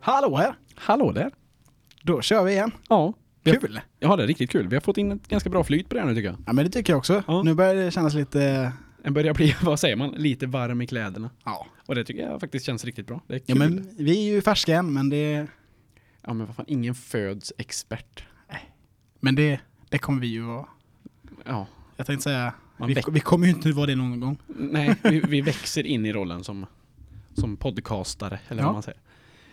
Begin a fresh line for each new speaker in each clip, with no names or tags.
Hallå här!
Hallå där!
Då kör vi igen.
Ja. Vi har,
Kul!
ja, det är riktigt kul. Vi har fått in ett ganska bra flyt på det här nu tycker jag.
Ja men det tycker jag också.
Ja.
Nu börjar det kännas lite...
En börjar bli, vad säger man, lite varm i kläderna.
Ja.
Och det tycker jag faktiskt känns riktigt bra. Det är kul.
ja men vi är ju färska än men det...
ja, men vad fan, ingen föds expert.
Men det, det kommer vi ju vara.
Ja.
Jag tänkte säga...
Man
Vi,
väck-
vi kommer ju inte vara det någon gång.
Nej, vi, vi växer in i rollen som, som podcastare, eller
Ja.
vad man säger.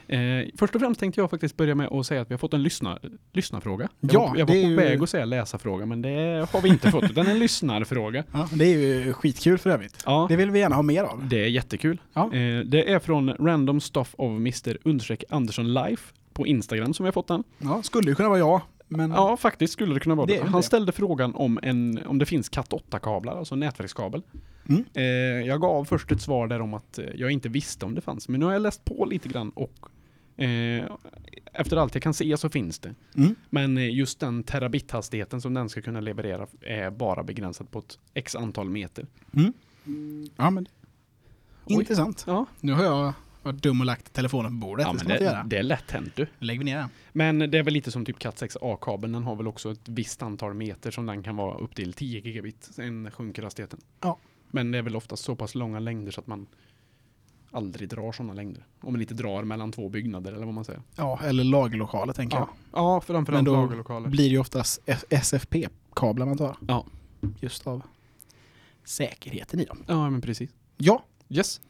Eh, först och främst tänkte jag faktiskt börja med att säga att vi har fått en lyssna, lyssnarfråga. Jag
Ja,
var, jag
det är
var
ju-
på väg att säga läsarfråga, men det har vi inte fått, utan en lyssnarfråga.
Ja, det är ju skitkul för övrigt.
Ja,
Det vill vi gärna ha mer av.
det är jättekul.
Ja.
Eh, det är från Random Stuff of Mr. Understreck Andersson Life på Instagram som vi har fått den.
Ja, skulle ju kunna vara jag. Men
Ja, faktiskt skulle det kunna vara
Mm. Det är
det.
ju
Han
det.
ställde frågan om, en, om det finns cat 8-kablar, alltså nätverkskabel.
Mm.
Eh, jag gav först ett svar där om att eh, jag inte visste om det fanns, men nu har jag läst på lite grann och eh, efter allt jag kan se så finns det.
Mm.
Men eh, just den terabithastigheten som den ska kunna leverera är bara begränsad på ett x antal meter.
ja, men
Oj.
intressant.
Ja,
Nu har jag varit dum och lagt telefonen på bordet.
ja
det
men
ska man inte
det,
göra.
det är lätt hänt du.
Lägg ner den.
Men det är väl lite som typ Cat 6A-kabeln, den har väl också ett visst antal meter som den kan vara upp till 10 gigabit, sen sjunker hastigheten.
Ja.
Men det är väl oftast så pass långa längder så att man aldrig drar sådana längder. Om man inte drar mellan två byggnader eller vad man säger.
Ja, eller lagerlokaler tänker
Ja, ja framförallt
Men då
lagerlokaler.
jag. Blir det ju oftast F- SFP-kablar man tar.
Ja.
Just av säkerheten i dem.
Ja, men precis.
Ja,
Yes.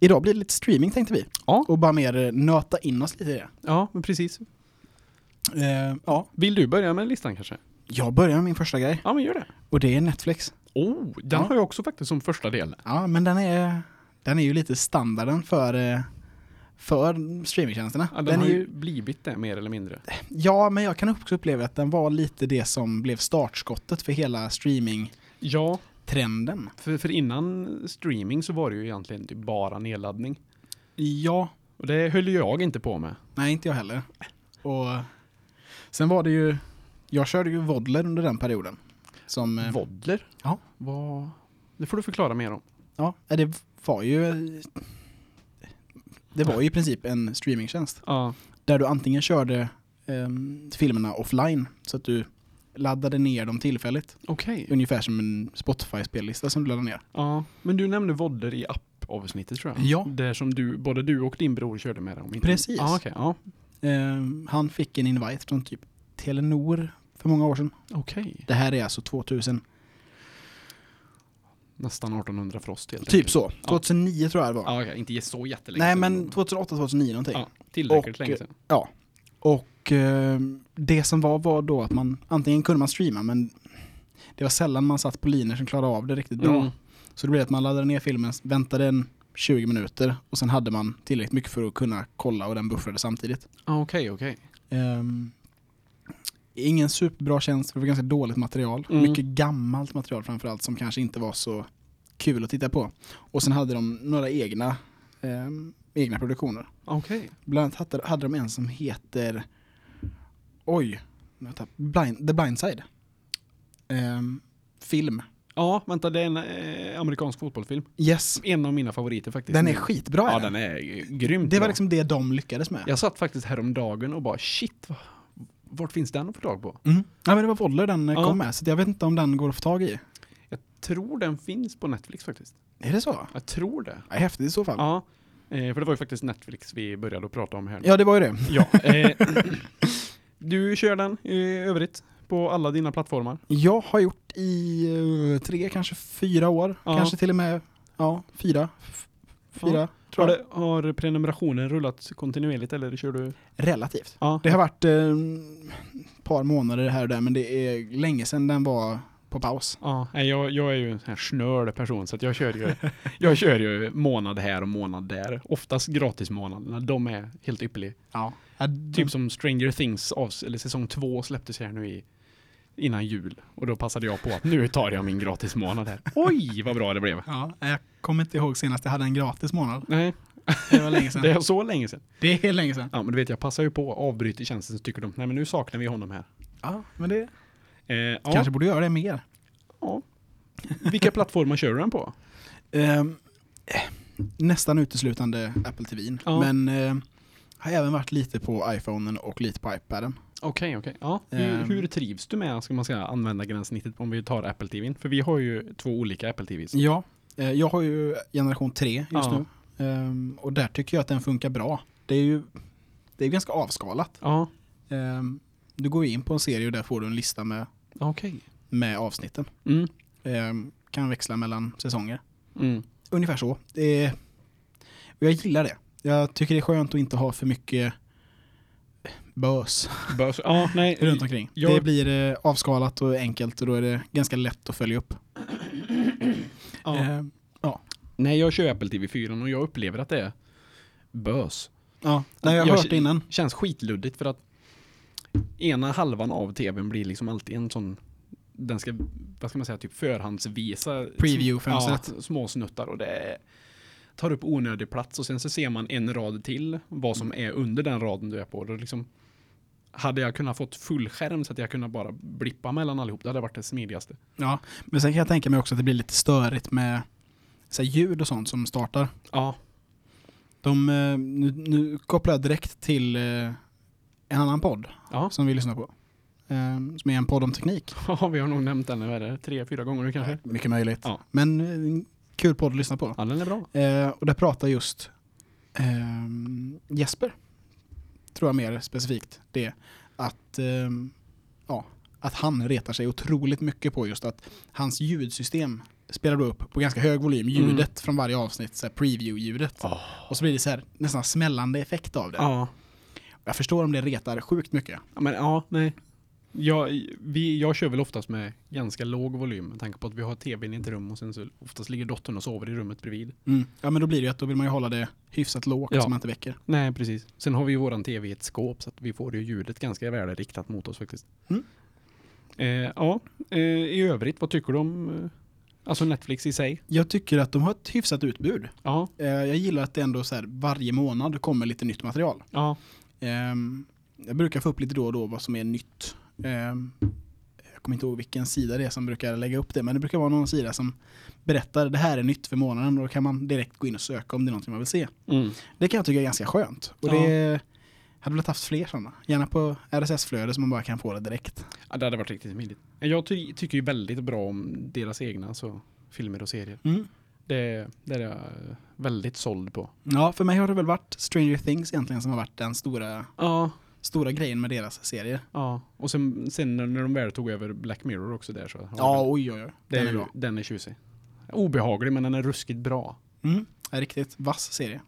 idag blir det lite streaming tänkte vi.
Ja.
Och bara mer eh, nöta in oss lite i det.
Ja, men precis.
Eh, ja,
Vill du börja med listan kanske?
jag börjar med min första grej.
Ja, men gör det.
Och det är Netflix.
Oh, den
Ja.
har jag också faktiskt som första del.
Ja, men den är, den är ju lite standarden för, eh, för streamingtjänsterna.
Ja, den,
Den
har
är
ju blivit det mer eller mindre.
Ja, men jag kan också uppleva att den var lite det som blev startskottet för hela streamingtrenden.
Ja, för, för innan streaming så var det ju egentligen typ bara nedladdning.
Ja.
Och det höll ju jag inte på med.
Nej, inte jag heller. Och sen var det ju, jag körde ju Vodler under den perioden. Som, eh,
Vodler?
Ja.
Vad... Det får du förklara mer om.
ja, eh, det var ju, det var ju i princip en streamingtjänst.
Ja.
Där du antingen körde eh, filmerna offline, så att du laddade ner dem tillfälligt.
Okej.
Ungefär som en Spotify-spellista som du laddar ner.
Ja. Men du nämnde Vodler i app-avsnittet tror jag.
Ja.
Där som du, både du och din bror körde med om inte-
Precis.
Ja, okej. Ja.
Eh, han fick en invite från typ Telenor för många år sedan.
Okej.
Det här är alltså 2000.
Nästan 1800 frost helt
Typ så.
Ja.
2009 tror jag det var.
Ja, okej. Inte så jättelänge
Nej
sedan.
men 2008, 2009 någonting.
Ja, tillräckligt
Och- eh,
länge sedan.
Och eh, det som var var då att man antingen kunde man streama men det var sällan man satt på linjer som klarade av det riktigt bra.
Mm.
Så det blev att man laddade ner filmen, väntade en 20 minuter och sen hade man tillräckligt mycket för att kunna kolla och den buffrade samtidigt.
Ja, okej, okej.
Ehm, ingen superbra tjänst för det var ganska dåligt material.
Mm.
Mycket gammalt material framförallt som kanske inte var så kul att titta på. Och sen hade de några egna, ehm, egna produktioner.
Okej.
Bland annat hade, hade de en som heter... Oj! Vänta, blind, The Blind Side. Ehm, film.
Ja, vänta. Det är en eh, amerikansk fotbollsfilm.
Yes.
En av mina favoriter faktiskt.
Den är
Nu.
skitbra.
Ja,
är den.
den är eh, grymt
Det var
bra.
liksom det de lyckades med.
Jag satt faktiskt häromdagen och bara shit, va- vart finns den att få tag på?
Mm. Ja, men det var Voller den eh,
Ja.
kom med, så jag vet inte om den går att få tag i.
Jag tror den finns på Netflix faktiskt.
Är det så?
Jag tror det.
Ja, häftigt i så fall. Ja,
Ja, eh, för det var ju faktiskt Netflix vi började att prata om här.
det var ju det.
Ja, eh, du kör den i övrigt på alla dina plattformar.
Jag har gjort i eh, tre, kanske fyra år.
Ja.
Kanske till och med, ja, fyra. F- Fyra,
Har,
tror jag.
det, har prenumerationen rullat kontinuerligt eller kör du?
Relativt.
Ja,
Det har varit eh, ett par månader här och där men det är länge sedan den var på paus.
ja nej, jag, jag är ju en sån här snörd person så att jag kör ju, jag kör ju månad här och månad där. Oftast gratismånaderna, de är helt ypperliga.
Ja.
Typ som Stranger Things, avs- eller säsong två släpptes här nu i innan jul. Och då passade jag på att nu tar jag min gratis månad här. Oj, vad bra det blev.
ja, jag kommer inte ihåg senast jag hade en gratis månad.
Nej,
Det var länge sedan.
det är så länge sedan.
det är länge sedan.
Ja, men du vet, jag passar ju på, avbryter tjänsten så tycker de, nej men nu saknar vi honom här.
Ja, men det
Eh, ja,
kanske borde göra det mer.
ja. Vilka plattformar kör du den på?
Ehm, eh, nästan uteslutande Apple TV.
Ja.
Men eh, Har även varit lite på iPhonen och lite på iPaden.
Okej, okej. Ja. Hur,
Ehm.
hur trivs du med, ska man säga, användargränssnittet om vi tar Apple TVn? För vi har ju två olika Apple TVs.
Ja, eh, jag har ju generation 3 just
Ja.
nu. Ehm, och där tycker jag att den funkar bra. Det är ju det är ganska avskalat.
Ja,
Ehm, du går ju in på en serie och där får du en lista med,
okej.
med avsnitten.
Mm.
Ehm, kan växla mellan säsonger.
Mm.
Ungefär så. Det är, och jag gillar det. Jag tycker det är skönt att inte ha för mycket bös
Bara så- Ja, nej.
runt omkring.
Eh, jag-
Det blir eh, avskalat och enkelt och då är det ganska lätt att följa upp.
Ja.
Ehm,
Nej, jag kör Apple TV 4 och jag upplever att det är bös.
ja. Nej, jag har
Jag-
hört det innan.
Känns skitluddigt för att ena halvan av TVn blir liksom alltid en sån den ska, vad ska man säga, typ förhandsvisa
Preview-fönstret.
Ja, små snuttar och det är- tar upp onödig plats och sen så ser man en rad till vad som är under den raden du är på. Och liksom, hade jag kunnat fått full skärm så att jag kunnat bara blippa mellan allihop, det hade varit det smidigaste.
Ja, men sen kan jag tänka mig också att det blir lite störigt med så här, ljud och sånt som startar.
Ja,
De, eh, nu, nu kopplar jag direkt till eh, en annan podd
ja.
som vi lyssnar på. Eh, Som är en podd om teknik.
ja vi har nog nämnt den, vad är det, tre, fyra gånger nu kanske?
Mycket möjligt.
Ja.
Men eh, en kul podd att lyssna på.
Ja, den är bra.
Eh, Och där pratar just eh, Jesper, tror jag mer specifikt, det att, eh, ja, att han retar sig otroligt mycket på just att hans ljudsystem spelar då upp på ganska hög volym ljudet
Mm.
från varje avsnitt, så här preview-ljudet.
Oh.
Och så blir det så här nästan smällande effekt av det.
Ja.
Jag förstår om det retar sjukt mycket.
Ja, Men ja, nej. Jag, vi, jag kör väl oftast med ganska låg volym med tanke på att vi har tvn i ett rum och sen så oftast ligger dottern och sover i rummet bredvid.
Mm. Ja men då blir det ju att då vill man ju hålla det hyfsat lågt
Ja.
så man inte väcker.
Nej, precis. Sen har vi ju våran tv i ett skåp så att vi får ju ljudet ganska väl riktat mot oss faktiskt.
Mm.
Eh, ja, eh, i övrigt, vad tycker du om eh, alltså Netflix i sig?
Jag tycker att de har ett hyfsat utbud.
Ja,
Eh, Jag gillar att det ändå så här varje månad kommer lite nytt material.
ja,
Ehm, jag brukar få upp lite då och då vad som är nytt. Ehm, jag kommer inte ihåg vilken sida det är som brukar lägga upp det, men det brukar vara någon sida som berättar det här är nytt för månaden och då kan man direkt gå in och söka om det är någonting man vill se.
mm.
Det kan jag tycka är ganska skönt. Och
Ja.
det hade velat haft fler sådana. Gärna på RSS-flöde så man bara kan få det direkt.
ja det hade varit riktigt smidigt. Jag ty tycker ju väldigt bra om deras egna alltså, filmer och serier. Det, det är jag eh, väldigt såld på.
Ja, för mig har det väl varit Stranger Things egentligen som har varit den stora,
Ja,
stora grejen med deras serier.
Ja, och sen, sen när när de väl tog över Black Mirror också där så.
Ja, oj oj oj.
den,
Den är
ju-
bra.
Den är tjusig. Obehaglig men den är ruskigt bra.
Mm. Ja, Riktigt vass serie.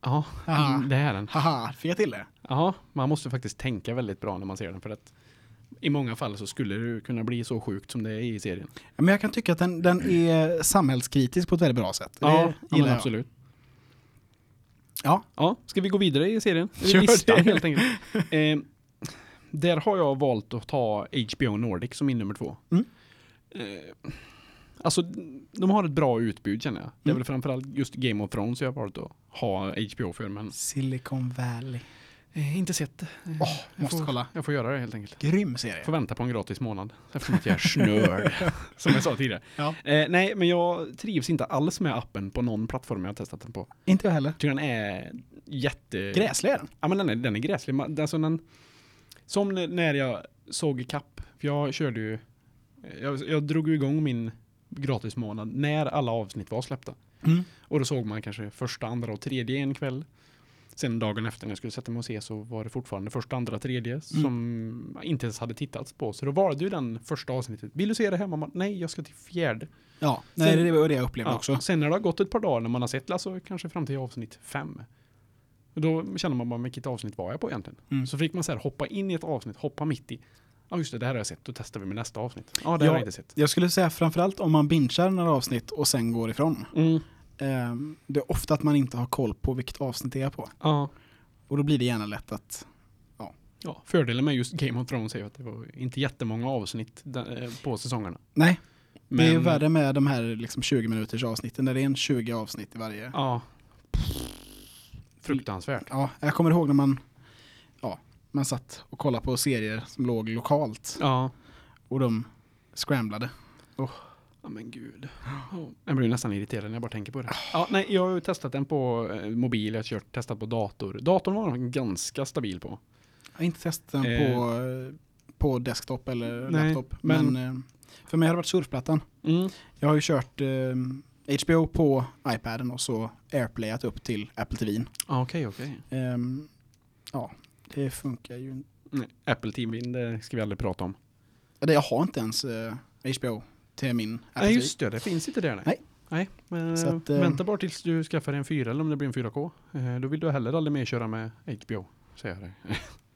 Ja,
Haha.
det är den.
Haha, fick jag till det?
Ja, man måste faktiskt tänka väldigt bra när man ser den för att i många fall så skulle det ju kunna bli så sjukt som det är i serien.
Ja, Men jag kan tycka att den, den är samhällskritisk på ett väldigt bra sätt. Det
Ja, ja men
gillar
absolut.
Ja.
ja. Ska vi gå vidare i serien? I
Kör
listan
det.
helt enkelt. Eh, där har jag valt att ta HBO Nordic som min nummer två.
Mm.
Eh, alltså, de har ett bra utbud känner jag. Det är
Mm.
väl framförallt just Game of Thrones jag har valt att ha HBO för, men
jag. Silicon Valley.
eh, inte sett det. Eh,
Åh, måste
får-
kolla.
Jag får göra det helt enkelt.
Grym serie.
Får vänta på en gratis månad eftersom att jag är snörd. som jag sa tidigare.
Ja.
Eh, nej, men jag trivs inte alls med appen på någon plattform jag har testat den på.
Inte jag heller.
tycker den är jätte...
Gräslig är den.
Ja men den är, den är gräslig. Man- Alltså den, som n- när jag såg i kapp. För jag körde ju... Jag, jag drog ju igång min gratismånad när alla avsnitt var släppta.
Mm.
Och då såg man kanske första, andra och tredje en kväll. Sen dagen efter när jag skulle sätta mig och se så var det fortfarande första, andra, tredje
Mm.
som inte ens hade tittats på. Så då valde ju den första avsnittet. Vill du se det här mamma? Nej, jag ska till fjärde.
Ja, nej, det var det jag upplevde
Ja,
också.
Sen när det har gått ett par dagar när man har sett Lasse kanske fram till avsnitt fem. Och Då känner man bara, vilket avsnitt var jag på egentligen?
Mm.
Så fick man så här hoppa in i ett avsnitt, hoppa mitt i. Ja just det, det här har jag sett, då testar vi med nästa avsnitt. Ja, det
Ja.
har jag inte sett.
Jag skulle säga framförallt om man bingear några avsnitt och sen går ifrån.
Mm.
Ehm, Det är ofta att man inte har koll på vilket avsnitt det är på.
Ja.
Och då blir det gärna lätt att...
ja. Fördelen med just Game of Thrones är ju att det var inte jättemånga avsnitt där, eh, på säsongerna.
Nej, det är ju
Men-
värre med de här liksom 20 minuters avsnitten där det är en 20 avsnitt i varje.
Ja. Fruktansvärt.
Ja, jag kommer ihåg när man, ja, man satt och kollade på serier som låg lokalt
Ja.
och de scramblade.
Ja men gud. Ja. Jag blir nästan irriterad när jag bara tänker på det. Ja, nej, jag har ju testat den på eh, mobil, jag har kört, testat på dator. Datorn var den ganska stabil på.
Jag har inte testat den
Eh.
på, eh, på desktop eller
Nej,
laptop. Men, eh, för mig har det varit surfplattan.
Mm.
Jag har ju kört eh, HBO på iPaden och så airplayat upp till Apple TVn.
Ah, okej, okej.
Ehm, ja, det funkar ju inte.
Nej, Apple TV, det ska vi aldrig prata om.
Det- Jag har inte ens eh, HBO till min Apple
Nej
TV.
just det, det finns inte där nej.
Nej.
Nej, men
Så att,
eh,
eh,
vänta bara tills du skaffar en 4 eller om det blir en 4K. Eh, Då vill du heller aldrig mer köra med HBO, säger jag dig.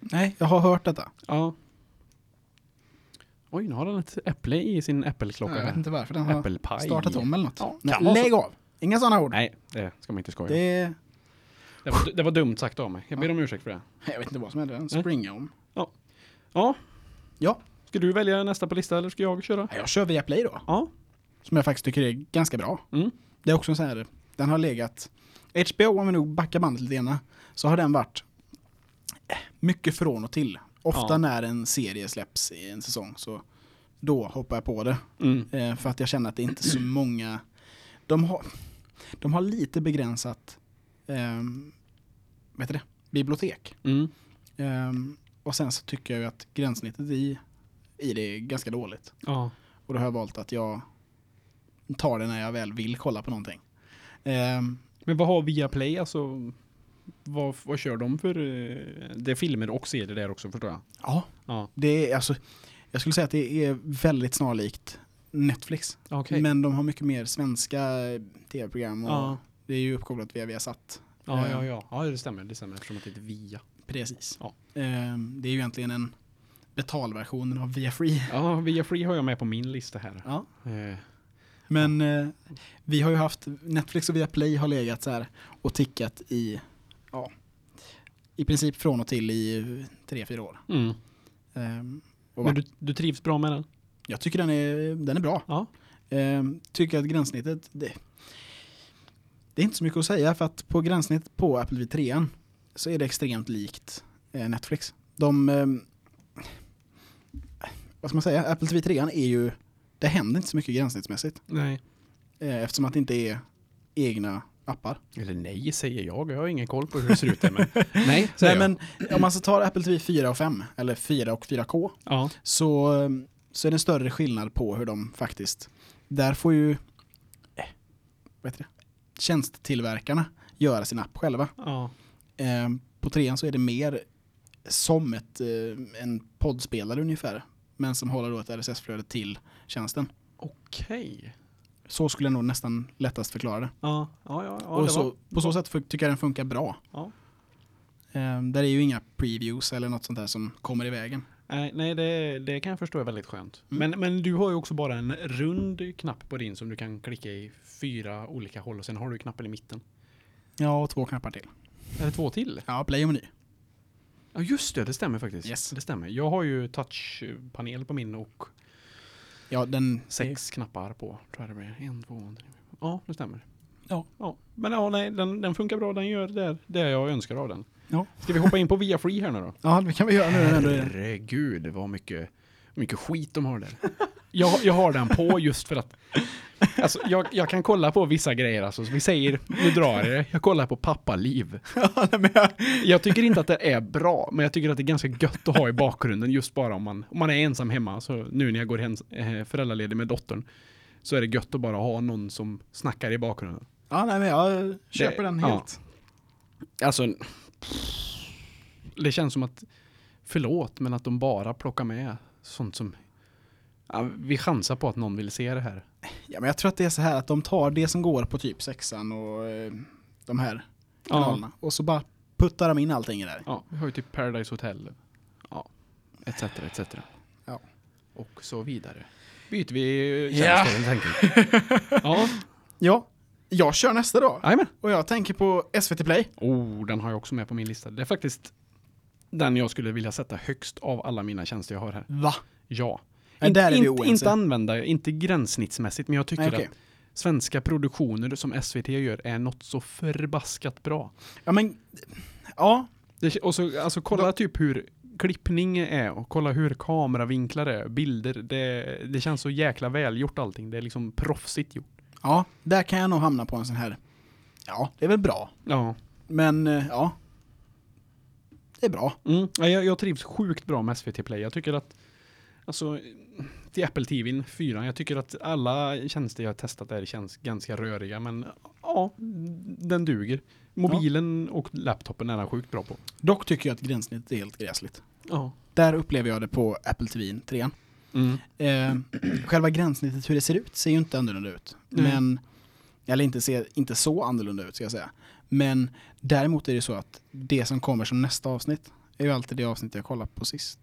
Nej, jag har hört detta.
Ja. Oj, nu har han ett äpple i sin äppelklocka.
Jag vet
här.
inte varför den har
Äppelpaj.
startat om eller något.
Ja,
Nej,
kan vara så.
lägg av! Inga sådana ord.
Nej, det ska man inte skoja om.
Det,
Det var, det var dumt sagt av mig. Jag ber om ursäkt för det.
jag vet inte vad som hände, den springa om.
Ja.
Ja.
Ska du välja nästa på listan eller ska jag köra?
Nej, Jag kör via Play då.
Ja.
Som jag faktiskt tycker är ganska bra.
Mm.
Det är också en sån här, den har legat, HBO om vi nog backar bandet lite grann, så har den varit eh, mycket från och till. Ofta
Ja.
när en serie släpps i en säsong så då hoppar jag på det.
Mm.
Eh, för att jag känner att det är inte så många, de har, de har lite begränsat, eh, vad heter det, bibliotek.
Mm.
Eh, och sen så tycker jag ju att gränssnittet i, i det är ganska dåligt.
Ja.
Och då har jag valt att jag tar det när jag väl vill kolla på någonting. Ehm,
Men vad har Viaplay alltså? Vad, vad kör de för? eh, Det är filmer och serier där också förstår jag.
ja,
Ja.
det är alltså, jag skulle säga att det är väldigt snarlikt Netflix.
Okej.
Men de har mycket mer svenska eh, tv-program och
Ja.
det är ju uppkopplat via Viasat.
Ja, ja, ja. Ja, det stämmer. Det stämmer eftersom att det heter Via.
Precis.
Ja.
Ehm, det är ju egentligen en betalversion av Via Free.
Ja, Via Free har jag med på min lista här.
Ja.
Eh,
Men eh, vi har ju haft, Netflix och Viaplay har legat så här och tickat i, ja, i princip från och till i tre, fyra år.
Mm.
Ehm, och
Men du, du trivs bra med den?
Jag tycker den är, den är bra.
Ja.
Ehm, tycker att gränssnittet, det, det är inte så mycket att säga för att på gränssnitt på Apple V3 så är det extremt likt eh, Netflix. De, ehm, vad ska man säga, Apple TV3 är ju, det händer inte så mycket gränssnittsmässigt
Nej.
eh, eftersom att det inte är egna appar.
Eller nej, säger jag. Jag har ingen koll på hur det ser ut där. Men nej, säger
Nej, men om man så tar Apple TV 4 och 5 eller 4 och 4K
jag. Ja.
så, ehm, så är det en större skillnad på hur de faktiskt... Där får ju eh, vad heter det? tjänsttillverkarna göra sin app själva.
ja.
Ehm, På trean så är det mer som ett, eh, en poddspelare ungefär. Men som håller då ett RSS-flöde till tjänsten.
Okej.
Så skulle jag nog nästan lättast förklara det.
Ja, ja, ja. ja
och
det
så,
var-
På så sätt fun- tycker jag den funkar bra.
Ja.
Ehm, Där är ju inga previews eller något sånt där som kommer i vägen.
Nej, nej det, det kan jag förstå är väldigt skönt.
Mm.
Men, men du har ju också bara en rund knapp på din som du kan klicka i fyra olika håll och sen har du knappen i mitten.
Ja, och två knappar till.
Eller två till?
Ja, play och meny.
Ja just det, det stämmer faktiskt.
Yes.
Det stämmer. Jag har ju touchpanel på min och
Ja, den...
sex knappar på. Tror jag det blir. En, två, tre. Ja, det stämmer.
Ja.
ja. Men ja, nej, den, den funkar bra. Den gör det, det jag önskar av den.
Ja.
Ska vi hoppa in på Via Free här nu då?
Ja, det kan vi göra nu när vi ändå är det.
Herregud vad mycket, mycket skit de har där. Jag, jag har den på just för att alltså, jag, jag kan kolla på vissa grejer. Alltså, vi säger, nu drar jag det. Jag kollar på Pappaliv. Jag tycker inte att det är bra, men jag tycker att det är ganska gött att ha i bakgrunden just bara om man, om man är ensam hemma. Så nu när jag går hem, eh, föräldraledig med dottern så är det gött att bara ha någon som snackar i bakgrunden.
Ja, nej, men jag köper
Det-
den
ja.
helt.
Alltså, det känns som att, förlåt, men att de bara plockar med sånt som, ja, vi chansar på att någon vill se det här.
Ja. men jag tror att det är så här att de tar det som går på typ sexan och eh, de här
Ja,
kanalerna och så bara puttar de in allting i där.
ja, vi har ju typ Paradise Hotel, ja, etc, etc.
Ja.
Och så vidare. Byter vi
Ja.
tjänster helt enkelt. Ja,
Ja, jag kör nästa då.
jajamän.
Och jag tänker på SVT Play.
Oh, den har jag också med på min lista. Det är faktiskt den jag skulle vilja sätta högst av alla mina tjänster jag har här.
Va?
Ja.
Ja,
inte,
där är vi
inte,
oense.
inte använda, inte gränssnittsmässigt, men jag tycker
Nej, okej.
att svenska produktioner som SVT gör är något så förbaskat bra.
Ja, men... Ja,
Det, och så, alltså kolla typ hur klippning är och kolla hur kameravinklar är, bilder. Det, det känns så jäkla välgjort allting. Det är liksom proffsigt gjort.
Ja, där kan jag nog hamna på en sån här. Ja, det är väl bra.
Ja.
Men eh, ja. Det är bra.
Mm. Ja, Jag, jag trivs sjukt bra med SVT Play. Jag tycker att, alltså, till Apple TVn, 4, jag tycker att alla tjänster jag har testat där känns ganska röriga, men ja, den duger. Mobilen och laptopen är den sjukt bra på.
Dock tycker jag att gränssnittet är helt gräsligt.
Ja.
Där upplever jag det på Apple TV 3.
Mm.
Eh, själva gränssnittet, hur det ser ut, ser ju inte annorlunda ut.
Nej.
Men, eller inte, ser, inte så annorlunda ut ska jag säga. Men däremot är det så att det som kommer som nästa avsnitt är ju alltid det avsnitt jag kollat på sist.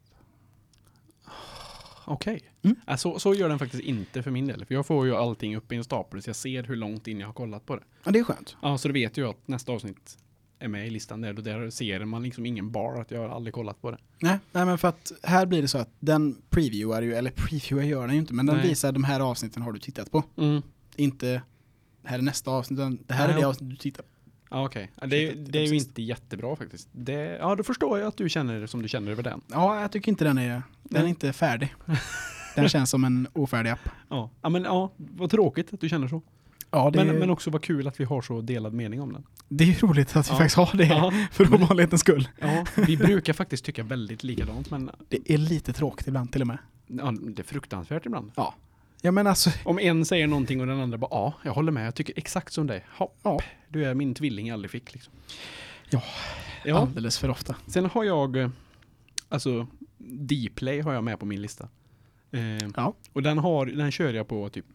Okej.
Mm.
Ja, så, så gör den faktiskt inte för min del, för jag får ju allting upp i en stapel, så jag ser hur långt in jag har kollat på det.
Ja, det är skönt.
Ja, så då vet jag att nästa avsnitt är med i listan där, och där ser man liksom ingen bar att jag har aldrig kollat på det.
Nej, nej, men för att här blir det så att den previewar ju, eller previewar gör den ju inte, men den
Nej.
visar de här avsnitten har du tittat på.
Mm.
Inte det här är nästa avsnitt, utan det här är
Nej.
det avsnitt du tittar på.
Ja, okej. Ja, Det, är-
Tittat
det är ju
sist.
inte jättebra faktiskt. Det, ja, då förstår jag att du känner som du känner över den.
Ja, jag tycker inte den är, den är
Nej.
inte färdig. Den känns som en ofärdig app.
Ja. ja, men ja, vad tråkigt att du känner så.
Ja, det,
Men, men
men,
också vad kul att vi har så delad mening om den.
det är ju roligt att vi
Ja.
faktiskt har det.
Ja,
För ovanlighetens skull.
ja, vi brukar faktiskt tycka väldigt likadant, men
Det är lite tråkigt ibland till och med.
ja, det är fruktansvärt ibland.
Ja men alltså,
Om en säger någonting och den andra bara ja, jag håller med, jag tycker exakt som dig. Hopp,
Ja.
du är min tvilling jag aldrig fick. Liksom.
Ja.
ja.
alldeles för ofta.
Sen har jag, eh, alltså Dplay har jag med på min lista. Eh,
Ja.
Och den, har, den kör jag på typ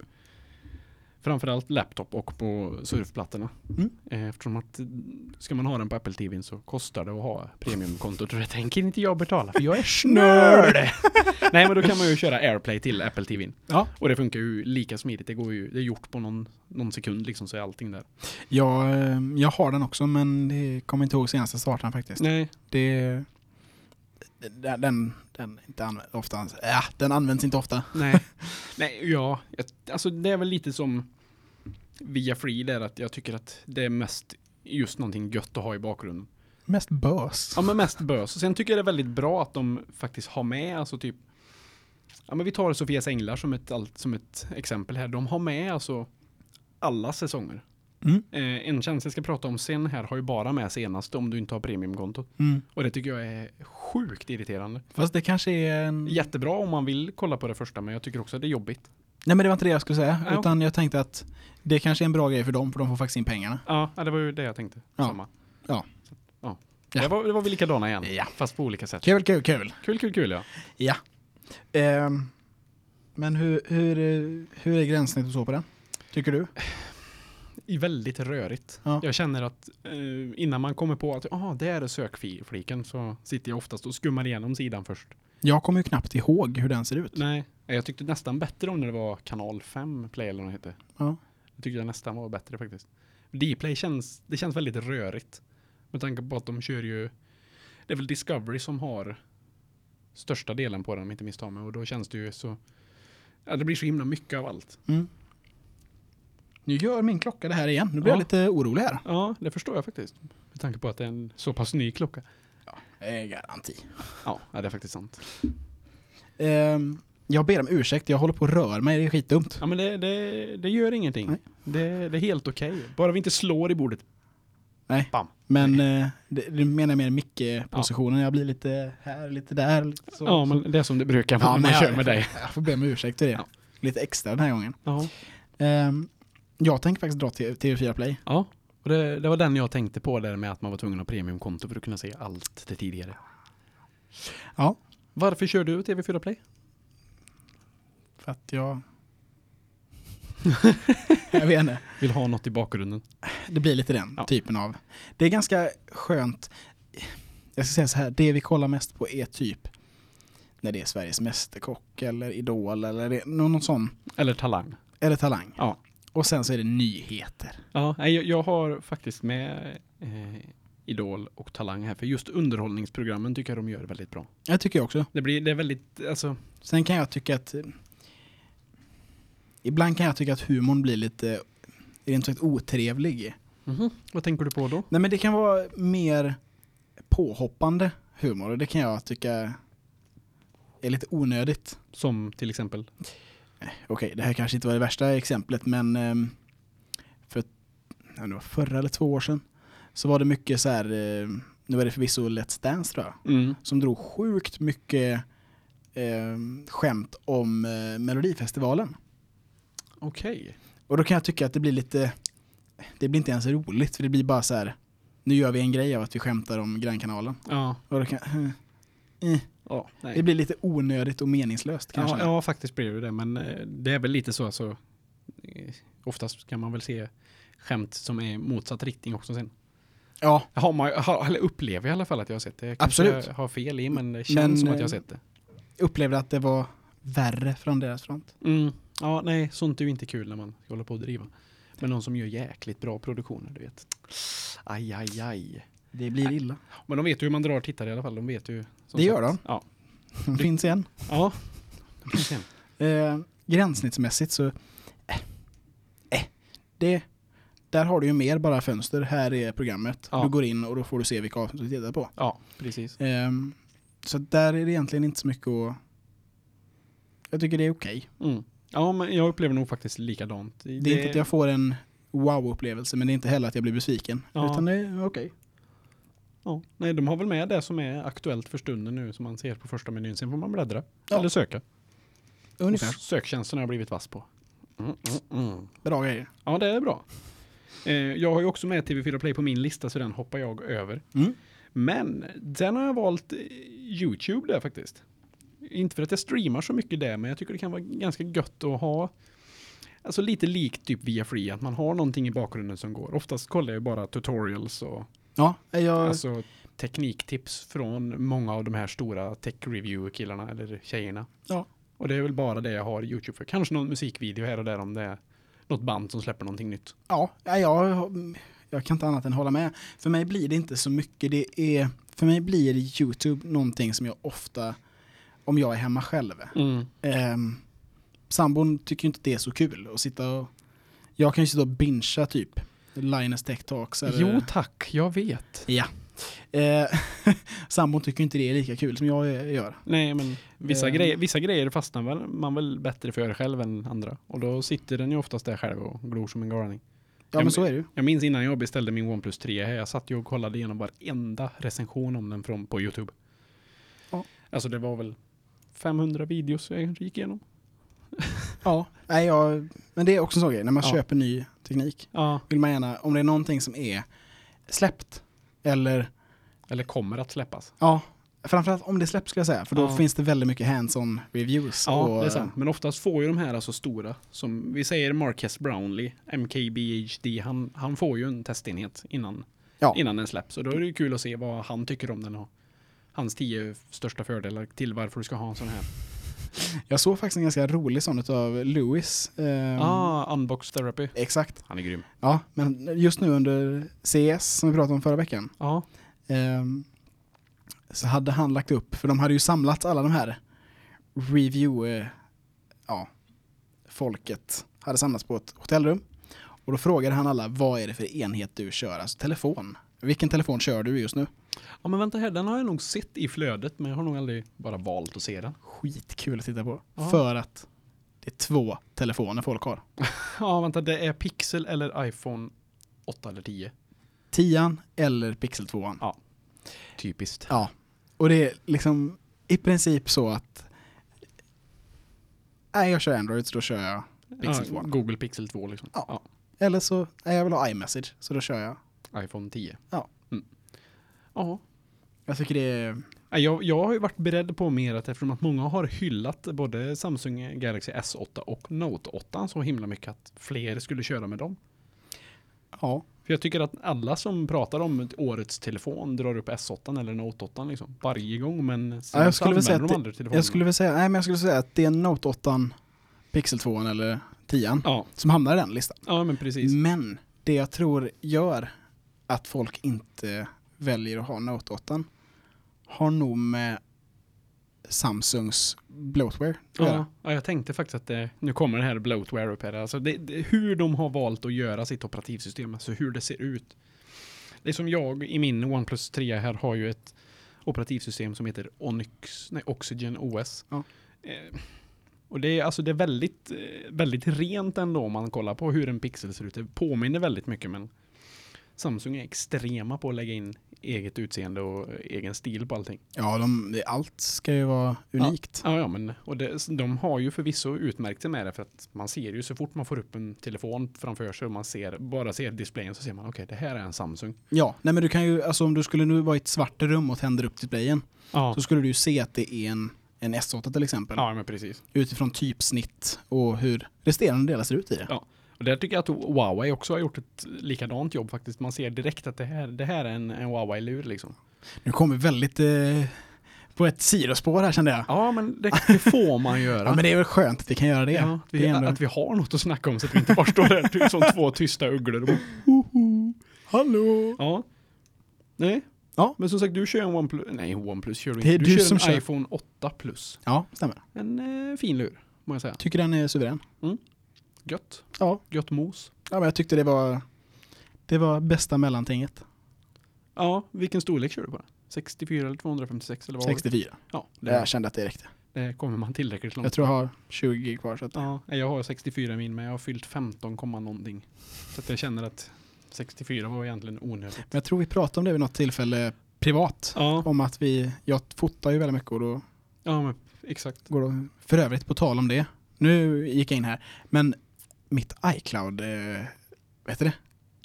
framförallt laptop och på surfplattorna.
Mm.
Eh, eftersom att eh, ska man ha den på Apple TVn så kostar det att ha premiumkontot och det tänker inte jag betala för jag är snörd. Nej men då kan man ju köra AirPlay till Apple TVn.
Ja.
Och det funkar ju lika smidigt, det, går ju, det är gjort på någon, någon sekund liksom så är allting där.
Jag, eh, jag har den också men det kommer inte ihåg senaste starten faktiskt.
Nej,
Det, den, den, den, är inte använd, ofta, äh, den används inte ofta.
Nej, nej ja. Jag, alltså det är väl lite som via Free där att jag tycker att det är mest just någonting gött att ha i bakgrunden.
Mest bös.
Ja men mest bös. Och sen tycker jag det är väldigt bra att de faktiskt har med, alltså typ Ja men vi tar Sofias Änglar som ett, allt- som ett exempel här. De har med alltså alla säsonger.
Mm.
Eh, en tjänst jag ska prata om sen här har ju bara med senast om du inte har premiumkontot.
Mm.
Och det tycker jag är sjukt irriterande.
Fast det kanske är en...
Jättebra om man vill kolla på det första men jag tycker också att det är jobbigt.
Nej men det var inte det jag skulle säga.
Ja.
Utan jag tänkte att det kanske är en bra grej för dem för de får faktiskt in pengarna.
Ja, ja, det var ju det jag tänkte.
Ja.
Samma.
Ja.
Så, ja.
Ja.
Det, var, det var vi likadana igen,
Ja.
fast på olika sätt.
Kul, kul, kul.
Kul, kul, kul ja.
Ja. Ehm, men hur, hur, eh, hur är gränssnittet och så på den? Tycker du?
I väldigt rörigt.
Ja.
Jag känner att eh, innan man kommer på att ah, det är sökfliken så sitter jag oftast och skummar igenom sidan först.
Jag kommer ju knappt ihåg hur den ser ut.
Nej, jag tyckte nästan bättre om när det var kanal 5 play eller vad det hette.
Ja.
Jag tyckte jag nästan var bättre faktiskt. Dplay känns, det känns väldigt rörigt. Med tanke på att de kör ju, det är väl Discovery som har största delen på den om jag inte misstar mig. Och då känns det ju så, ja det blir så himla mycket av allt.
Mm. Nu gör min klocka det här igen. Nu blir
Ja.
jag lite orolig här.
Ja, det förstår jag faktiskt. Med tanke på att det är en så pass ny klocka.
Eh, garanti.
Ja, ja det är faktiskt sant.
Ehm, jag ber om ursäkt, jag håller på att röra mig, det är skitdumt.
Ja men det, det, det gör ingenting.
Nej.
Det, det är helt okej. Bara vi inte slår i bordet.
Nej.
Bam.
Men eh, det, det menar jag mer mick-positionen. Jag blir lite här, lite där. Lite så.
Ja men det är som det brukar vara
Ja,
när man
men
kör
jag-
med dig.
Jag får be om ursäkt för det.
Ja.
Lite extra den här gången.
Ja.
Ehm, jag tänker faktiskt dra till TV4 Play.
Ja, och det, det var den jag tänkte på där med att man var tvungen att ha premiumkonto för att kunna se allt det tidigare.
Ja.
Varför kör du TV4 Play?
För att jag... jag vet inte.
Vill ha något i bakgrunden.
Det blir lite den
Ja.
typen av... Det är ganska skönt. Jag ska säga så här, det vi kollar mest på är typ när det är Sveriges Mästerkock eller Idol eller det, någon, någon sån.
Eller Talang.
Eller Talang.
Ja.
Och sen så är det nyheter.
Ja, nej, jag, jag har faktiskt med eh, Idol och Talang här, för just underhållningsprogrammen tycker jag de gör väldigt bra.
Jag tycker jag också.
Det blir, det är väldigt, alltså,
Sen kan jag tycka att... eh, Ibland kan jag tycka att humorn blir lite, eh, rent sagt, otrevlig.
Mhm. vad tänker du på då?
Nej men det kan vara mer påhoppande humor och det kan jag tycka är lite onödigt.
Som till exempel.
Okej, det här kanske inte var det värsta exemplet men ehm, för ja, det var förra eller två år sedan så var det mycket så här, eh, nu är det förvisso Let's Dance tror jag,
Mm.
som drog sjukt mycket eh, skämt om eh, Melodifestivalen.
Okej.
Och då kan jag tycka att det blir lite, det blir inte ens roligt för det blir bara så här, nu gör vi en grej av att vi skämtar om Grannkanalen.
Ja.
Och då kan, eh, eh,
Ja, nej.
det blir lite onödigt och meningslöst kanske.
ja, ja, faktiskt blir det det. Men eh, det är väl lite så. Alltså, eh, oftast kan man väl se skämt som är i motsatt riktning också sen.
ja
Har man, har, eller upplever jag i alla fall att jag har sett det. Jag
Absolut.
Jag har fel i men det känns
Men,
som att jag har
eh,
sett det.
upplevde att det var värre från deras front.
Mm. Ja, nej, sånt är ju inte kul när man håller på att driva. Men någon som gör jäkligt bra produktioner, du vet. Aj, aj, aj.
Det blir illa.
Men de vet ju hur man drar tittare i alla fall. De vet ju. som
Det gör
sagt. Ja.
Det finns en.
Ja. De finns igen.
Eh, gränssnittsmässigt så, eh, eh, det, där har du ju mer bara fönster. Här är programmet.
Ja.
Du går in och då får du se vilka avsnitt du tittar på.
Ja, precis.
Ehm, så där är det egentligen inte så mycket att... Jag tycker det är okej.
Mm. Ja, men jag upplever nog faktiskt likadant.
Det är inte att jag får en wow-upplevelse men det är inte heller att jag blir besviken.
Ja.
Utan det är okej.
Ja, nej, de har väl med det som är aktuellt för stunden nu som man ser på första menyn. Sen får man bläddra.
Ja.
Eller söka.
Ungefär.
Och Söktjänsten har jag blivit vass på. Mm, mm, mm.
Bra grejer.
Ja, det är bra. Eh, jag har ju också med TV4 Play på min lista så den hoppar jag över.
Mm.
Men sen har jag valt eh, YouTube där faktiskt. Inte för att jag streamar så mycket där, men jag tycker det kan vara ganska gött att ha Alltså lite likt typ via Free, att man har någonting i bakgrunden som går. Oftast kollar jag ju bara tutorials och
Ja, jag,
Alltså tekniktips från många av de här stora tech review killarna eller tjejerna.
Ja.
Och det är väl bara det jag har Youtube för. Kanske någon musikvideo här och där om det är något band som släpper någonting nytt.
ja nej, jag, jag kan inte annat än hålla med. För mig blir det inte så mycket. Det är, för mig blir YouTube någonting som jag ofta, om jag är hemma själv.
Mm.
Ehm, sambon tycker ju inte det är så kul att sitta och... Jag kan ju sitta och bingea typ Linus Tech Talks. eller-
Jo tack, jag vet.
Eh, sambon tycker inte det är lika kul som jag eh, gör.
Nej men vissa,
Eh.
grejer, vissa grejer fastnar väl, man väl bättre för själv än andra. Och då sitter den ju oftast där själv och glor som en galning.
Ja men så är det ju.
Jag minns innan jag beställde min OnePlus 3 här, jag satt ju och kollade igenom varenda recension om den från, på YouTube.
Ja.
Alltså det var väl 500 videos jag kanske gick igenom.
Ja. Nej, jag, men det är också en sån grej, när man
Ja.
köper ny teknik
Ja.
vill man gärna, om det är någonting som är släppt eller,
Eller kommer att släppas.
ja, framförallt om det släpps skulle jag säga, för då
Ja.
finns det väldigt mycket hands-on reviews.
Ja,
och,
det är sant. Men oftast får ju de här alltså stora, som vi säger Marquez Brownlee, MKBHD, han, han får ju en testenhet innan,
Ja.
innan den släpps. Och då är det ju kul att se vad han tycker om den och hans tio största fördelar till varför du ska ha en sån här.
eh, Jag såg faktiskt en ganska rolig sån av Lewis. ehm,
Ah, Unbox Therapy.
Exakt.
Han är grym.
Ja, men just nu under CES som vi pratade om förra veckan,
Ja.
Ehm, så hade han lagt upp, för de hade ju samlat alla de här review, eh, ja, folket hade samlats på ett hotellrum. Och då frågade han alla, vad är det för enhet du kör? Alltså telefon. Vilken telefon kör du just nu?
Ja men vänta här, den har jag nog sett i flödet men jag har nog aldrig bara valt att se den.
Skitkul att titta på.
Ja.
För att det är två telefoner folk har.
Ja vänta, det är Pixel eller iPhone 8 eller 10.
Tian eller Pixel 2.
Typiskt.
Ja, och det är liksom i princip så att nej, jag kör Android så då kör jag Pixel
Pixel
2.
2. Google Pixel 2 liksom.
Ja. Eller så, nej jag vill ha iMessage, så då kör jag.
iPhone 10.
Ja.
Mm. Ja.
Jag tycker det är,
Nej, Jag, jag har ju varit beredd på mer att eftersom att många har hyllat både Samsung Galaxy S8 och Note 8 så himla mycket att fler skulle köra med dem.
ja.
För jag tycker att alla som pratar om årets telefon drar upp S8 eller Note 8 liksom varje gång men sen
Ja, jag
så
skulle väl säga
använder de
att
aldrig telefonerna.
Jag skulle väl säga, nej men jag skulle säga att det är Note 8, Pixel 2 eller 10
Ja,
som hamnar i den listan.
ja men precis.
Men det jag tror gör att folk inte väljer att ha Note 8 har nog med Samsungs bloatware att
Ja,
göra.
ja, jag tänkte faktiskt att det, nu kommer det här bloatware upp här. Alltså det, det, hur de har valt att göra sitt operativsystem, alltså hur det ser ut. Det är som jag i min OnePlus 3 här har ju ett operativsystem som heter Onyx, nej, Oxygen OS.
Ja.
Eh, och det är, alltså, det är väldigt, eh, väldigt rent ändå om man kollar på hur en pixel ser ut. Det påminner väldigt mycket men Samsung är extrema på att lägga in eget utseende och eh, egen stil på allting.
Ja, de, det- allt ska ju vara unikt.
Ja, ja men och det, de har ju förvisso utmärkt sig med det för att man ser ju så fort man får upp en telefon framför sig och man ser, bara ser displayen så ser man okej, det här är en Samsung.
Ja, nej men du kan ju, alltså om du skulle nu vara i ett svart rum och tänder upp displayen
Ja,
så skulle du ju se att det är en, en S8 till exempel.
ja men precis.
Utifrån typsnitt och hur resterande delar ser ut i det.
Ja. Och där tycker jag att Huawei också har gjort ett likadant jobb faktiskt. Man ser direkt att det här, det här är en, en Huawei-lur liksom.
Nu kommer vi väldigt eh, på ett sidospår här kände jag. Ja,
Ja, men det, det får man göra.
men det är väl skönt att vi kan göra det.
Ja, vi,
det är ändå...
Att vi har något att snacka om så att vi inte bara står där typ som två tysta ugglor. och bara,
Hallå!
Ja. Nej.
Ja.
Men som sagt, du kör en OnePlus. Nej, OnePlus kör du
Det är
inte. Du,
du
kör
som
en
kör.
iPhone 8 Plus.
Ja, stämmer.
En eh, fin lur, må jag säga.
Tycker den är suverän.
Gött.
Ja.
Gött mos.
ja, men jag tyckte det var, det var bästa mellantinget.
Ja, vilken storlek kör du på den? 64 eller 256 eller vad var det?
64.
Ja,
Jag
det,
kände att det räckte.
det kommer man tillräckligt långt.
Jag tror jag har 20 gig kvar. Så att,
Ja, nej, jag har 64 min, men jag har fyllt 15, komma någonting. Så att jag känner att 64 var egentligen onödigt.
Men jag tror vi pratade om det vid något tillfälle privat.
Ja,
Om att vi, jag fotar ju väldigt mycket och då
ja men exakt.
går det, för övrigt på tal om det, nu gick jag in här, men mitt iCloud, eh, vet du det?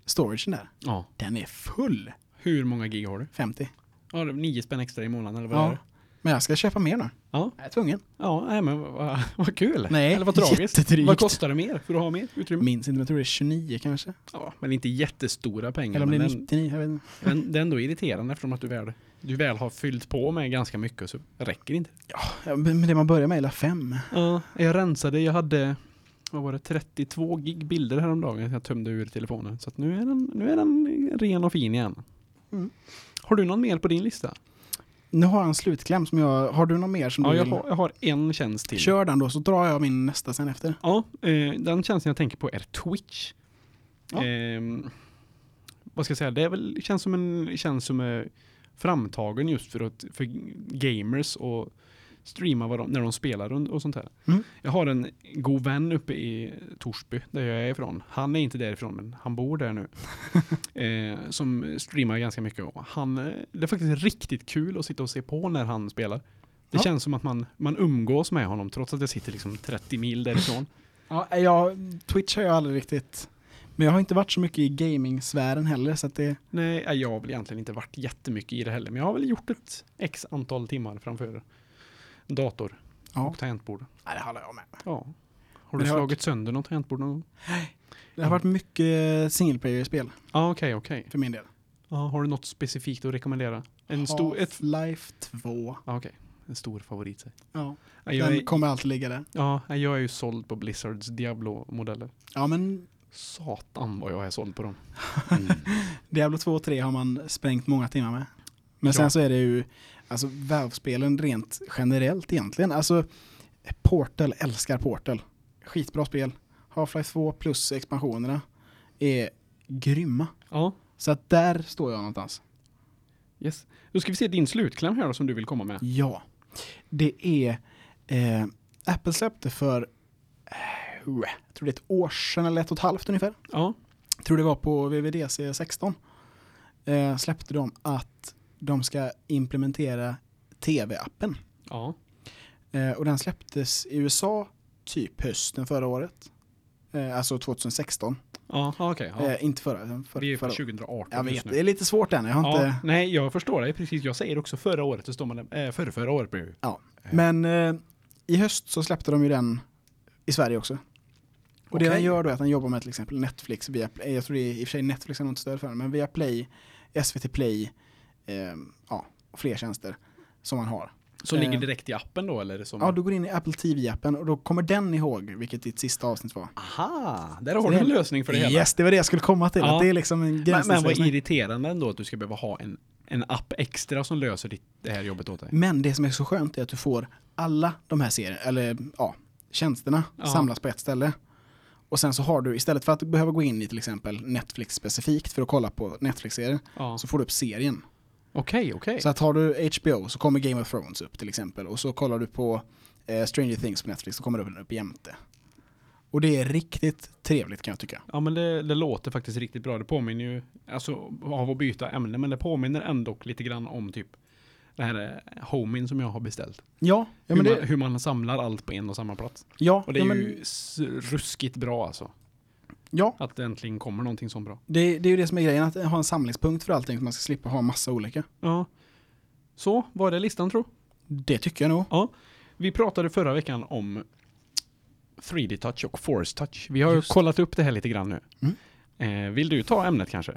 Storagen där,
Ja.
den är full.
Hur många gig har du?
50.
Ja, det är 9 spänn extra i månaden eller vad är
Ja.
det?
Men jag ska köpa mer nu.
Ja.
Jag är tvungen.
Ja, nej, men vad, vad kul.
Nej,
Eller vad tragiskt.
jättedrygt.
Vad kostar det mer för att ha mer utrymme?
Minns inte, men jag tror det är 29 kanske.
Ja, men inte jättestora pengar.
Eller om det
Mm. men
är
den,
99, jag vet inte.
men det är ändå irriterande eftersom att du väl, du väl har fyllt på med ganska mycket så räcker det inte.
Ja, men men det man börjar med är 5.
Ja, jag rensade, jag hade vad var det, 32 gig bilder häromdagen jag tömde ur telefonen. Så att nu, är den, nu är den ren och fin igen.
Mm.
Har du någon mer på din lista?
Nu har jag en slutkläm som jag, har du någon mer som
Ja,
du
jag
vill?
har, jag har en tjänst till.
Kör den då så drar jag min nästa sen efter.
Ja, eh, den tjänsten jag tänker på är Twitch.
Ja.
Ehm, vad ska jag säga, det är väl, känns som en tjänst som är framtagen just för, att, för gamers och streama vad de, när de spelar och, och sånt här.
Mm.
Jag har en god vän uppe i Torsby, där jag är ifrån. Han är inte därifrån, men han bor där nu. eh, som streamar ganska mycket. Och han, eh, det är faktiskt riktigt kul att sitta och se på när han spelar. Det
Ja.
känns som att man, man umgås med honom trots att jag sitter liksom 30 mil därifrån.
Ja, jag, Twitch har jag aldrig riktigt, men jag har inte varit så mycket i gaming-sfären heller så att det,
Nej, eh, jag har väl egentligen inte varit jättemycket i det heller, men jag har väl gjort ett x antal timmar framför dator
ja.
och tangentbord.
Nej, det håller jag med.
Ja.
Men
Har du
det har
slagit sönder något tangentbord någon gång?
Det har varit mycket single player-spel
Ja, okej, okej.
för min del.
Ja, har du något specifikt att rekommendera? En stor, ett,
Half-Life 2.
ja, okej. En stor favorit. säg.
Ja,
Ja,
den
jag, är,
kommer alltid ligga där.
ja, nej, jag är ju såld på Blizzards Diablo-modeller.
Ja, men
Satan vad jag är såld på dem. Mm.
Diablo 2 och 3 har man sprängt många timmar med. Men
Ja.
sen så är det ju, alltså Valve-spelen rent generellt egentligen. Alltså, Portal älskar Portal. Skitbra spel. Half-Life 2 plus expansionerna är grymma.
Ja,
Så att där står jag någonstans.
yes. Då ska vi se din slutkläm här då som du vill komma med.
Ja, det är... Eh, Apple släppte för... Eh, jag tror det är ett år sedan eller ett och ett halvt ungefär.
Ja,
Jag tror det var på VVDC 16. Eh, släppte de att de ska implementera tv-appen.
ja,
Eh, och den släpptes i USA typ hösten förra året. Eh, alltså 2016.
ja, ja, okej. ja.
Eh, inte förra, utan för,
Vi är på
förra.
2018
Jag vet,
just nu.
det är lite svårt än. Jag har
Ja,
inte...
nej, jag förstår dig precis. Jag säger också förra året, så står man där, eh, förra, förra året blir det ju.
Ja, men eh, i höst så släppte de ju den i Sverige också. Och det
Okej.
den gör då är att den jobbar med till exempel Netflix, via, eh, jag tror det är, i och för sig Netflix har nog inte stöd för den, men via Play, SVT Play, eh, ja, och fler tjänster som man har.
Som
Eh.
ligger direkt i appen då eller? Som...
Ja, du går in i Apple TV-appen och då kommer den ihåg vilket ditt sista avsnitt var.
Aha, där har
Så
du
det-
en lösning för det hela.
Yes, det var det jag skulle komma till.
Ja.
Att det är liksom en
Men, men vad
gränslösning.
irriterande ändå att du ska behöva ha en, en app extra som löser ditt, det här jobbet åt dig.
Men det som är så skönt är att du får alla de här serierna, eller ja, tjänsterna
Ja.
samlas på ett ställe. Och sen så har du, istället för att behöva gå in i till exempel Netflix specifikt för att kolla på Netflix-serien,
Ja.
så får du upp serien.
Okej, okej.
Så att har du HBO så kommer Game of Thrones upp till exempel och så kollar du på eh, Stranger Things på Netflix så kommer den upp jämte. Och det är riktigt trevligt kan jag tycka.
Ja men det, det låter faktiskt riktigt bra. Det påminner ju, alltså av att byta ämne, men det påminner ändå lite grann om typ det här eh, homin som jag har beställt.
Ja, ja men
hur,
det,
man, hur man samlar allt på en och samma plats.
ja,
Och det är
ja, men,
ju s- ruskigt bra alltså.
ja
Att det äntligen kommer någonting så bra.
det, det är ju det som är grejen, att ha en samlingspunkt för allting så man ska slippa ha massa olika.
Ja. Så, var det listan tro?
Det tycker jag nog.
Vi pratade förra veckan om 3D-touch och Force-touch. Vi har ju
Just.
kollat upp det här lite grann nu.
Mm.
Eh, vill du ta ämnet kanske?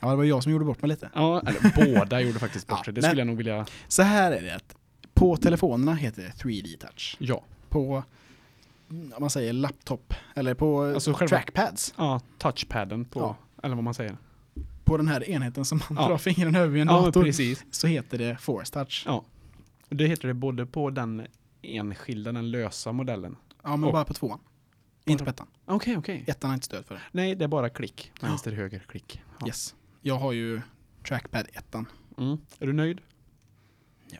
Ja, det var jag som gjorde bort mig lite.
Ja, eller båda gjorde faktiskt bort
Ja,
sig. Det
men-
skulle jag nog vilja...
Så här är det, att på telefonerna heter det 3D touch.
Ja.
På, mm, om man säger laptop, eller på
Alltså själva-
trackpads.
Ja, touchpadden på...
Ja.
Eller vad man säger.
På den här enheten som man
Ja.
drar fingren över vid en
Ja,
dator.
precis.
Så heter det force touch.
Ja. Det heter det både på den enskilda, den lösa modellen.
Ja, men
Och-
bara på tvåan. Inte på ettan.
Okej, okej.
Ettan har inte stöd för det.
Nej, det är bara klick. Vänster, höger, klick. Ja.
Yes. Jag har ju trackpad ettan.
Mm. Är du nöjd?
Ja.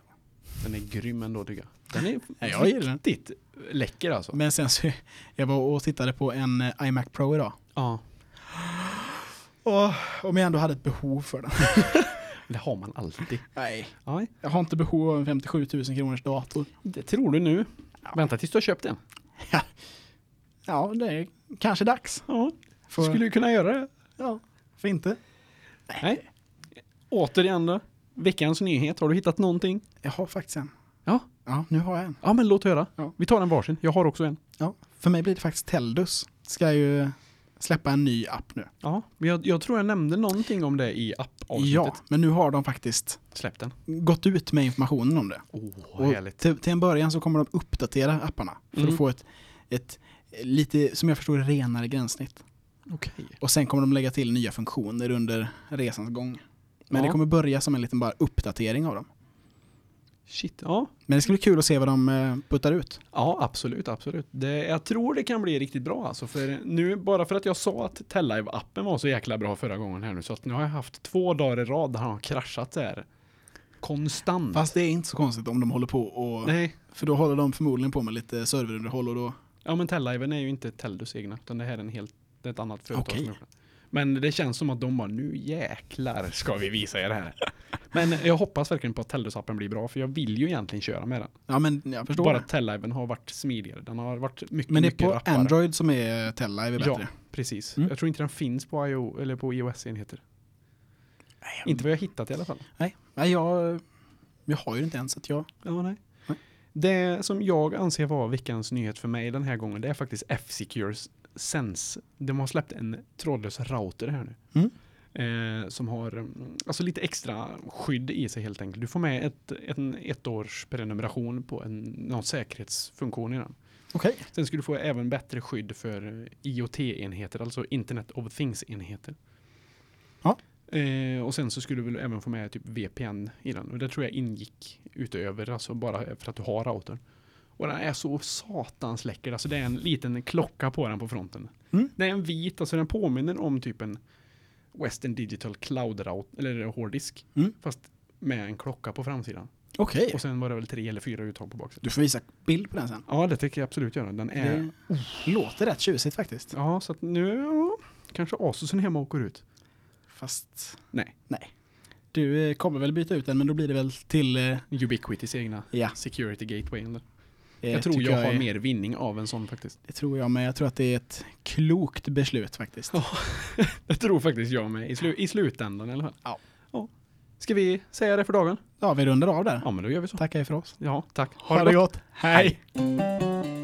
Den är grym ändå tycker jag. Den är
Nej, jag gillar den.
riktigt läcker alltså.
Men sen så, jag var och tittade på en eh, iMac Pro idag.
Ja.
Och, om jag ändå hade ett behov för den.
Det har man alltid.
Nej,
Ja,
jag har inte behov av en 57 000 kronors dator.
det tror du nu. Vänta tills du har köpt den.
Ja, det är kanske dags.
Ja,
För,
skulle du kunna göra det.
ja, för inte.
Nej. Återigen då. Veckans nyhet. Har du hittat någonting?
Jag har faktiskt en.
Ja.
Ja, nu har jag en.
Ja, men låt höra.
Ja.
Vi tar en varsin. Jag har också en.
Ja, för mig blir det faktiskt Teldus. Ska ju släppa en ny app nu.
Ja, men jag, jag tror jag nämnde någonting om det i app-avsnittet.
Ja, men nu har de faktiskt
Släpp den.
gått ut med informationen om det.
Åh, oh,
Och till, till en början så kommer de uppdatera apparna för
Mm.
att få ett, ett lite, som jag förstår renare gränssnitt.
Okej.
Och sen kommer de lägga till nya funktioner under resans gång. Men
Ja.
det kommer börja som en liten bara uppdatering av dem.
Shit, ja.
Men det ska bli kul att se vad de eh, puttar ut.
Ja, absolut, absolut. Det, jag tror det kan bli riktigt bra alltså. För nu, bara för att jag sa att Tellive-appen var så jäkla bra förra gången här nu, så att nu har jag haft två dagar i rad där han har kraschat så här. Konstant.
Mm. Fast det är inte så konstigt om de håller på och...
Nej.
För då håller de förmodligen på med lite serverunderhåll och då...
Ja, men Telliven är ju inte Teldus egna, utan det här är en helt, det är ett annat företag
Okej.
som gjort det. Men det känns som att de bara, nu jäklar ska vi visa er det här. Men jag hoppas verkligen på att Teldus-appen blir bra, för jag vill ju egentligen köra med den.
Ja men jag förstår
Bara
det.
Telliven har varit smidigare, den har varit mycket,
Men det är
mycket
på
rappare.
Android som är Tellive är
Ja,
bättre.
precis.
Mm.
Jag tror inte den finns på, IO, eller på iOS-enheter.
Nej,
Inte vad jag hittat i alla fall.
Nej, nej jag, jag har ju inte ens att jag...
Ja, nej.
Nej.
Det som jag anser vara veckans nyhet för mig den här gången, det är faktiskt F-Secures Sense. De har släppt en trådlös router här nu.
Mm.
Eh, som har mm, alltså lite extra skydd i sig helt enkelt. Du får med ett, en ettårs prenumeration på en, någon säkerhetsfunktion i den.
Okej.
Sen ska du få även bättre skydd för eh, IoT-enheter, alltså Internet of Things-enheter.
Ja.
Eh, och sen så skulle du väl även få med typ VPN i den. Och det tror jag ingick utöver, alltså bara för att du har routern. Och den är så satans läcker. Alltså det är en liten klocka på den på fronten.
Mm.
Det är en vit, alltså den påminner om typ en Western Digital Cloud Router, eller hårddisk.
Mm.
Fast med en klocka på framsidan.
Okej.
Och sen var det väl tre eller fyra uttag på baksidan.
Du får visa bild på den sen.
Ja, det tänker jag absolut göra. Den är...
Det låter rätt tjusigt faktiskt.
Eh, Ja, så att nu ja, kanske Asusen hemma åker ut.
Fast...
Nej.
Nej. Du eh, kommer väl byta ut den men då blir det väl till... eh,
Ubiquitys egna
Ja.
security gateway. Eller?
eh,
Jag tror
tycker
jag, har
är-
mer vinning av en sån faktiskt.
Det tror jag med. Jag tror att det är ett klokt beslut faktiskt.
Det tror faktiskt jag med, i, slu i slutändan i alla fall.
Ja.
ja. Ska vi säga det för dagen?
Ja, vi rundar av där.
Ja, men då gör vi så.
Tackar för oss.
Ja, tack.
Ha det gott.
Hej.